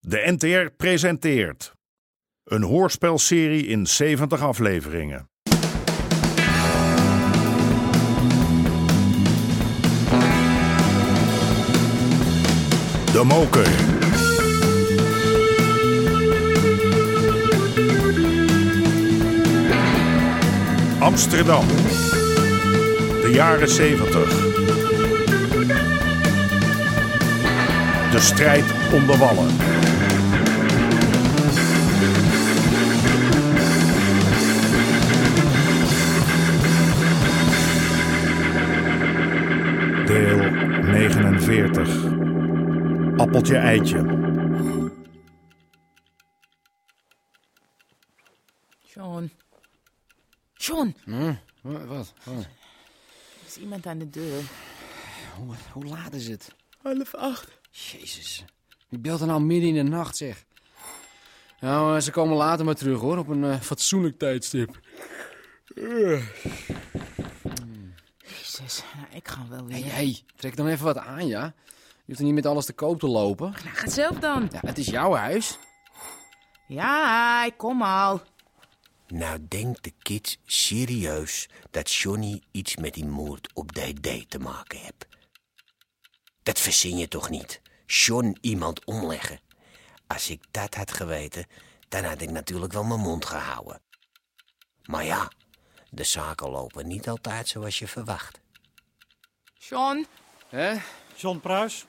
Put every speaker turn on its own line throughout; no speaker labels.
De NTR presenteert een hoorspelserie in 70 afleveringen. De Moker. Amsterdam. De jaren 70. De strijd om de wallen. Deel 49. Appeltje eitje.
Sean. Sean,
Wa- Wat? Wat?
er is iemand aan de deur.
Hoe, hoe laat is het?
Half acht.
Jezus. Wie belt er nou midden in de nacht, zeg? Nou, eh, ze komen later maar terug, hoor. Op een eh, fatsoenlijk tijdstip.
Jezus, nou, ik ga wel
Hé,
weer.
hey, hey, trek dan even wat aan, ja? Je hoeft er niet met alles te koop te lopen.
Nou, ga zelf dan.
Ja, het is jouw huis.
Ja, ik kom al.
Nou denkt de kids serieus dat Johnny iets met die moord op DD te maken heeft. Dat verzin je toch niet? John iemand omleggen. Als ik dat had geweten, dan had ik natuurlijk wel mijn mond gehouden. Maar ja, de zaken lopen niet altijd zoals je verwacht.
Sean,
Hè?
John Pruis,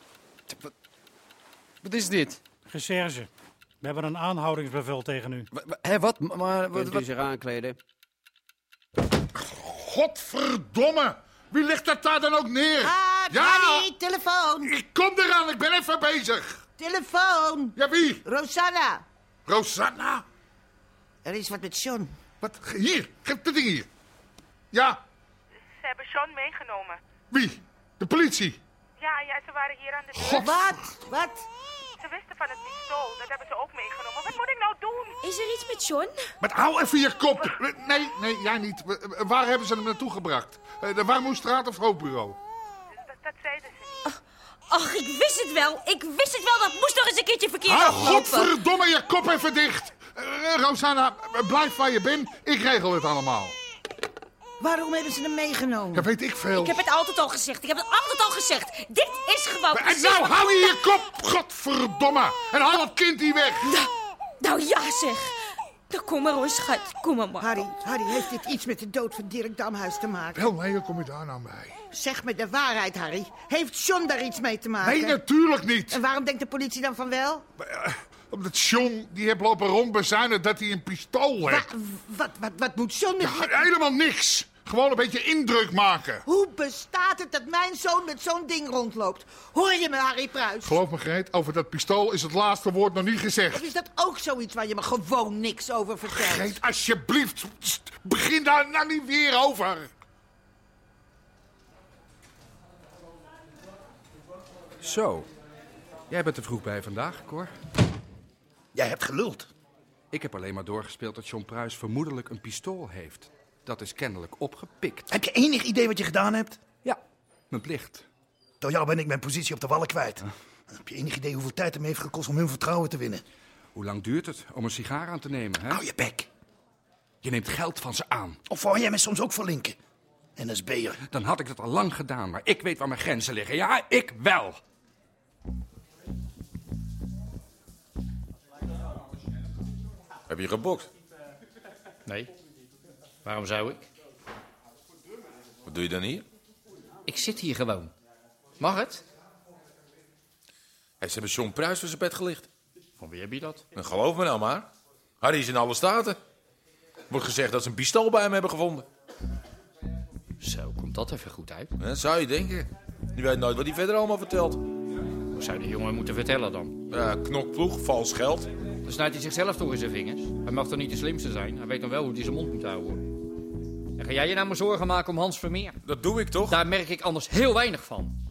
Wat is dit?
recherche. We hebben een aanhoudingsbevel tegen u.
Wa- wa- Hé, wat? M- Maar, wat, wat?
zich aankleden?
Godverdomme! Wie legt dat daar dan ook neer? ja, nou,
Daddy, telefoon!
ik kom eraan, ik ben even bezig.
Telefoon!
Ja, wie?
Rosanna!
Rosanna?
Er is wat met John.
Wat? Hier, geef de ding hier. Ja,
Ze hebben Sean meegenomen.
wie? De politie.
Ja, ja, ze waren hier aan de deur.
God.
Wat? Wat?
Ze wisten van het pistool. Dat hebben ze ook meegenomen. Wat moet ik nou doen?
Is er iets met John?
Maar hou even je kop. Nee, nee, jij niet. Waar hebben ze hem naartoe gebracht? Eh, De Warmoestraat of Hoofdbureau?
Dat, dat zeiden ze niet.
Ach, ik wist het wel. Ik wist het wel. Dat moest nog eens een keertje verkeerd
Ah,
aflopen.
godverdomme, je kop even dicht. Eh, Rosanna, blijf waar je bent. Ik regel het allemaal.
Waarom hebben ze hem meegenomen?
Dat weet ik veel.
Ik heb het altijd al gezegd. Ik heb het altijd al gezegd. Dit is gewoon...
En
precies
nou
wat-
hou je je kop, godverdomme. En haal dat kind hier weg.
Nou ja, zeg. Dan kom maar hoor, schat. Kom maar, maar.
Harry, Harry, heeft dit iets met de dood van Dirk Damhuis te maken?
Wel, nee, hoe kom je daar nou bij?
Zeg me de waarheid, Harry. Heeft John daar iets mee te maken?
Nee, natuurlijk niet. eh,
En waarom denkt de politie dan van wel?
Omdat John, die heeft lopen rondbezuinen dat hij een pistool
Wa-
heeft.
wat, wat, wat moet John met... met-
Helemaal niks. Gewoon een beetje indruk maken.
Hoe bestaat het dat mijn zoon met zo'n ding rondloopt? Hoor je me, Harry Pruis?
Geloof me, Greet, over dat pistool is het laatste woord nog niet
Of
gezegd.
is dat ook zoiets waar je me gewoon niks over vertelt?
Greet, alsjeblieft, st, begin daar nou niet weer over.
Zo. Jij bent er vroeg bij vandaag, Cor.
Jij hebt geluld.
Ik heb alleen maar doorgespeeld dat John Pruis vermoedelijk een pistool heeft. Dat is kennelijk opgepikt.
Heb je enig idee wat je gedaan hebt?
Ja, mijn plicht. Ah.
Door jou ben ik mijn positie op de wallen kwijt. Heb je enig idee hoeveel tijd het me heeft gekost om hun vertrouwen te winnen?
Hoe lang duurt het om een sigaar aan te nemen, hè?
Hou je bek.
Je neemt geld van ze aan.
Of wou jij me soms ook verlinken? NSB'er.
Dan had ik dat al lang gedaan, maar ik weet waar mijn grenzen liggen. Ja, ik wel.
Heb je gebokt?
Nee. Waarom zou ik?
Wat doe je dan hier?
Ik zit hier gewoon. Mag het?
Hey, ze hebben John Pruis voor zijn bed gelicht.
Van wie heb je dat?
En geloof me nou maar. Harry is in alle staten. Wordt gezegd dat ze een pistool bij hem hebben gevonden.
Zo, komt dat even goed uit.
Hè, zou je denken. Je weet nooit wat hij verder allemaal vertelt.
Wat zou de jongen moeten vertellen dan?
Ja, knokploeg, vals geld.
Dan snijdt hij zichzelf toch in zijn vingers. Hij mag toch niet de slimste zijn? Hij weet dan wel hoe hij zijn mond moet houden. En ga jij je nou maar zorgen maken om Hans Vermeer?
Dat doe ik toch?
Daar merk ik anders heel weinig van.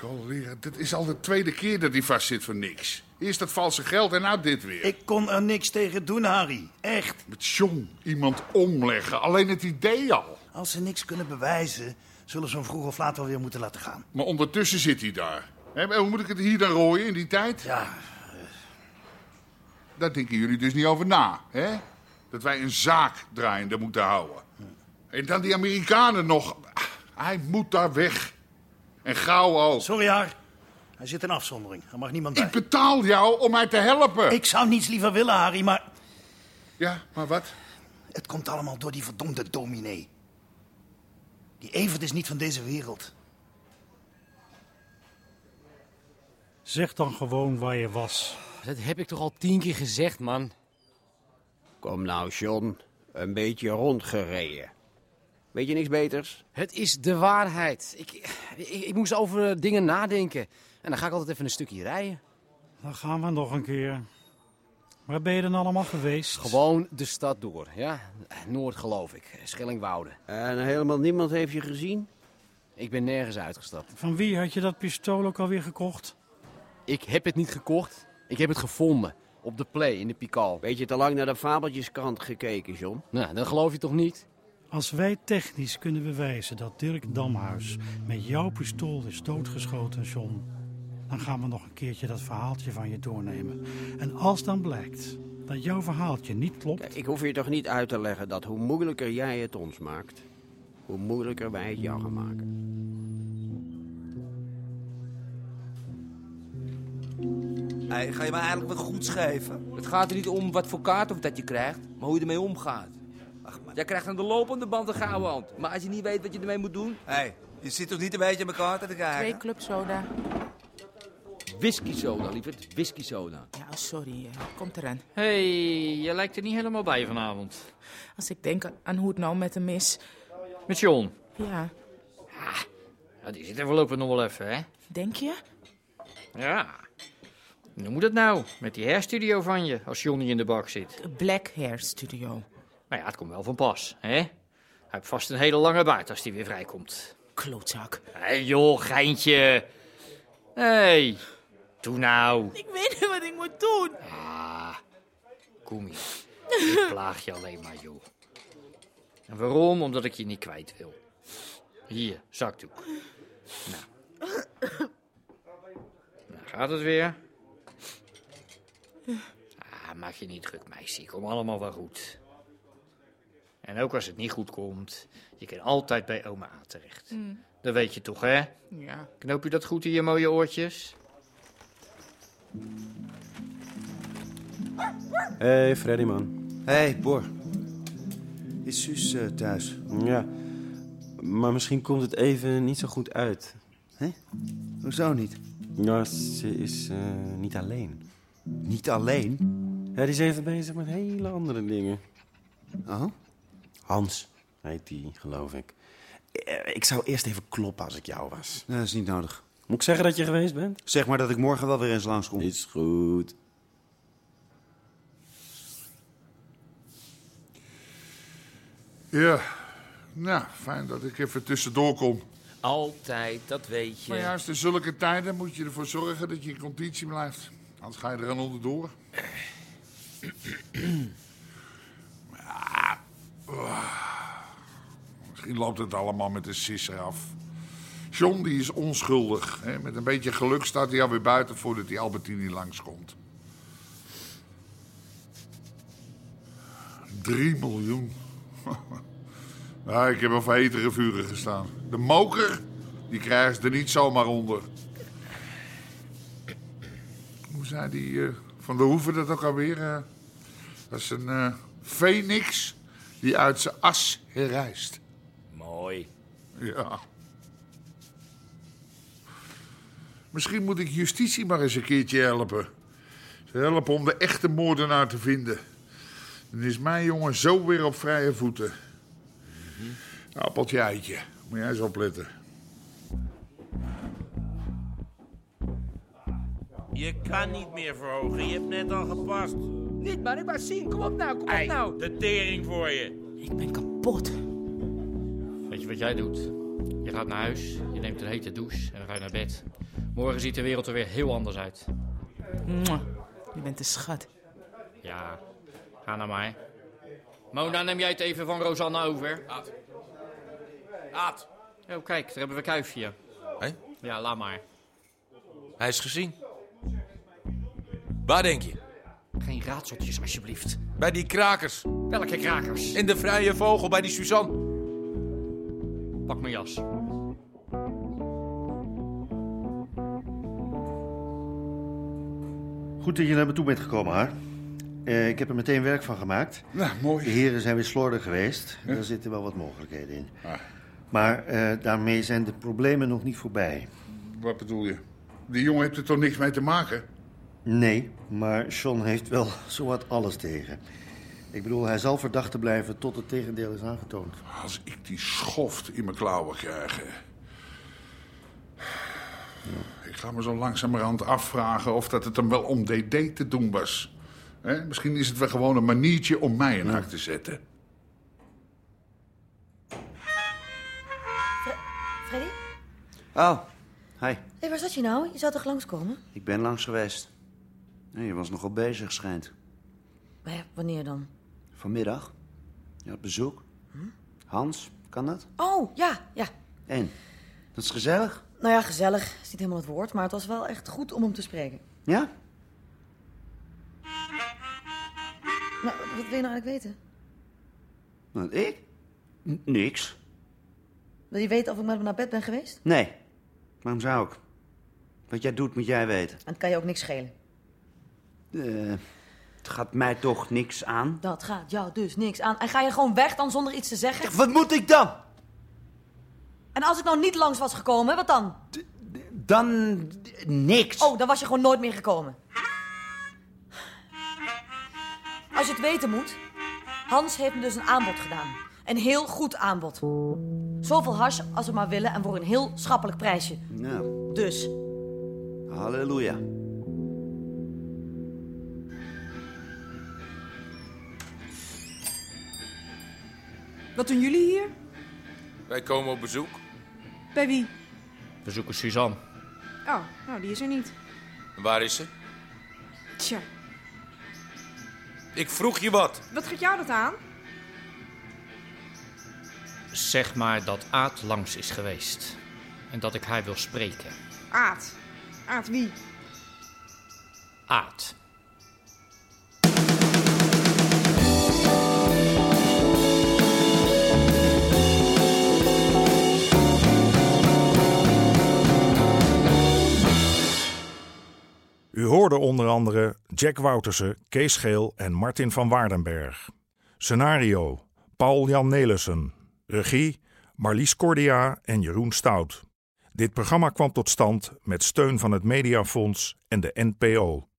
Colera, dit is al de tweede keer dat hij vastzit voor niks. Eerst dat valse geld en nou dit weer.
Ik kon er niks tegen doen, Harry. Echt.
Met John iemand omleggen, alleen het idee al.
Als ze niks kunnen bewijzen, zullen ze hem vroeg of laat wel weer moeten laten gaan.
Maar ondertussen zit hij daar. En hoe moet ik het hier dan rooien in die tijd? Ja. Daar denken jullie dus niet over na, hè? Dat wij een zaak draaiende moeten houden. En dan die Amerikanen nog. Ah, Hij moet daar weg. En gauw al.
Sorry, haar. Hij zit in afzondering. Er mag niemand bij. Ik
betaal jou om mij te helpen.
Ik zou niets liever willen, Harry, maar...
Ja, maar wat?
Het komt allemaal door die verdomde dominee. Die Evert is niet van deze wereld.
Zeg dan gewoon waar je was.
Dat heb ik toch al tien keer gezegd, man.
Kom nou, John. Een beetje rondgereden. Weet je niks beters?
Het is de waarheid. Ik, ik, ik moest over eh, dingen nadenken. En dan ga ik altijd even een stukje rijden.
Dan gaan we nog een keer. Waar ben je dan allemaal geweest?
Gewoon de stad door, ja. Noord, geloof ik. Schellingwoude.
En helemaal niemand heeft je gezien?
Ik ben nergens uitgestapt.
Van wie had je dat pistool ook alweer gekocht?
Ik heb het niet gekocht. Ik heb het gevonden. Op de play, in de Pikal.
Beetje te lang naar de fabeltjeskant gekeken, John.
Nou, dan geloof je toch niet?
Als wij technisch kunnen bewijzen dat Dirk Damhuis met jouw pistool is doodgeschoten, John, dan gaan we nog een keertje dat verhaaltje van je doornemen. En als dan blijkt dat jouw verhaaltje niet klopt,
Ik hoef je toch niet uit te leggen dat hoe moeilijker jij het ons maakt, hoe moeilijker wij het jou gaan maken.
Hey, ga je me eigenlijk wat goed schrijven? Het gaat er niet om wat voor kaart of dat je krijgt, maar hoe je ermee omgaat. Jij krijgt aan de lopende band een gouden hand. Maar als je niet weet wat je ermee moet doen... Hé, je zit toch niet een beetje aan elkaar te
Twee
kijken?
club soda.
Whisky soda, lieverd. Whisky soda.
Ja, sorry. eh, Komt eraan.
Hé, hey, je lijkt er niet helemaal bij vanavond.
Als ik denk aan hoe het nou met hem is.
Met John.
Ja,
Ja, die zit er voorlopig nog wel even, hè?
denk je?
Ja. En Hoe moet het nou? Met die hairstudio van je, als Johnny in de bak zit.
Black Hair Studio.
Nou ja, het komt wel van pas, hè? Hij heeft vast een hele lange baard als hij weer vrijkomt.
Klootzak.
Hé joh, geintje. Hé, hey, doe nou.
Ik weet niet wat ik moet doen.
Ah, kom hier. Ik plaag je alleen maar, joh. En waarom? Omdat ik je niet kwijt wil. Hier, zakdoek. Nou. Nou gaat het weer. Ah, maak je niet druk, meisje. Kom allemaal wel goed. En ook als het niet goed komt, je kan altijd bij oma A terecht. Dat weet je toch, hè?
Ja.
Knoop je dat goed in je mooie oortjes?
Hé, hey, Freddy, man. Hé, hey, Bor. Is Suus
eh,
thuis? Ja, maar misschien komt het even niet zo goed uit. Hé? Hoezo niet? Ja, ze is eh, niet alleen. Niet alleen? Ja, die is even bezig met hele andere dingen. Oh? Hans heet die, geloof ik. Eh, Ik zou eerst even kloppen als ik jou was.
Nee, dat is niet nodig.
Moet ik zeggen dat je geweest bent?
Zeg maar dat ik morgen wel weer eens langskom.
Is goed.
Ja. Nou, fijn dat ik even tussendoor kom.
Altijd, dat weet je.
Maar juist in zulke tijden moet je ervoor zorgen dat je in conditie blijft. Anders ga je er aan onderdoor. Ah. Ah. Misschien loopt het allemaal met een sisser af. John die is onschuldig. Hè? Met een beetje geluk staat hij alweer buiten voordat die Albertini langskomt. Drie miljoen. Ja, Nou, ik heb al voor hetere vuren gestaan. De moker, die krijgen ze er niet zomaar onder. Hoe zei die eh, van de Hoeven dat ook alweer? eh? dat is een eh phoenix die uit zijn as herrijst.
Mooi.
Ja. Misschien moet ik justitie maar eens een keertje helpen. Ze helpen om de echte moordenaar te vinden. Dan is mijn jongen zo weer op vrije voeten. Appeltje eitje. Moet jij eens opletten.
Je kan niet meer verhogen, je hebt net al gepast.
Niet, man. Ik was zien. Kom op nou, kom op nou.
De tering voor je.
Ik ben kapot.
Weet je wat jij doet? Je gaat naar huis, je neemt een hete douche en dan ga je naar bed. Morgen ziet de wereld er weer heel anders uit.
Mwah. Je bent een schat.
Ja, ga naar mij. Mona, neem jij het even van Rosanna over? Aad. Aad. Oh, kijk, daar hebben we Kuifje. Hé? Ja, laat maar.
Hij is gezien. Waar denk je?
Geen raadseltjes, alsjeblieft.
Bij die krakers.
Welke krakers?
In de vrije vogel bij die Suzanne.
Pak mijn jas.
Goed dat je naar me toe bent gekomen, haar. Eh, ik heb er meteen werk van gemaakt.
Nou, mooi.
De heren zijn weer slordig geweest.
Ja.
Daar zitten wel wat mogelijkheden in. Maar eh, daarmee zijn de problemen nog niet voorbij.
Wat bedoel je? Die jongen heeft er toch niks mee te maken?
Nee, maar John heeft wel zowat alles tegen. Ik bedoel, hij zal verdachte blijven tot het tegendeel is aangetoond.
Als ik die schoft in mijn klauwen krijg. hè. Ik ga me zo langzamerhand afvragen of dat het hem wel om DD te doen was. Hè? Misschien is het wel gewoon een maniertje om mij in haak te zetten.
Freddy?
Oh, hi.
Hé, waar zat je nou? Je zou toch langskomen?
Ik ben langs geweest. Nee, je was nogal bezig, schijnt.
Maar ja, wanneer dan?
Vanmiddag. Je had bezoek. Hans, kan dat?
Oh, ja, ja.
En? Dat is gezellig.
Nou ja, gezellig is niet helemaal het woord, maar het was wel echt goed om hem te spreken.
Ja?
Nou, wat wil je nou eigenlijk weten?
Want Nou, ik? N- niks.
Wil je weten of ik met hem naar bed ben geweest?
Nee. Waarom zou ik? Wat jij doet, moet jij weten.
En het kan je ook niks schelen.
Eh, het gaat mij toch niks aan?
Dat gaat jou dus niks aan. En ga je gewoon weg dan zonder iets te zeggen?
Wat moet ik dan?
En als ik nou niet langs was gekomen, wat dan?
Dan niks.
Oh, dan was je gewoon nooit meer gekomen. Als je het weten moet, Hans heeft me dus een aanbod gedaan. Een heel goed aanbod. Zoveel hash als we maar willen en voor een heel schappelijk prijsje.
Nou,
Dus,
halleluja.
Wat doen jullie hier?
Wij komen op bezoek.
Bij wie?
We zoeken Suzanne.
Oh, nou, die is er niet.
En Waar is ze?
Tja,
Ik vroeg je wat.
wat gaat jou dat aan?
Zeg maar dat Aad langs is geweest. En dat ik haar wil spreken.
Aad. Aad wie?
Aad.
U hoorde onder andere Jack Woutersen, Kees Geel en Martin van Waardenberg. Scenario: Paul-Jan Nelissen. Regie: Marlies Cordia en Jeroen Stout. Dit programma kwam tot stand met steun van het Mediafonds en de NPO.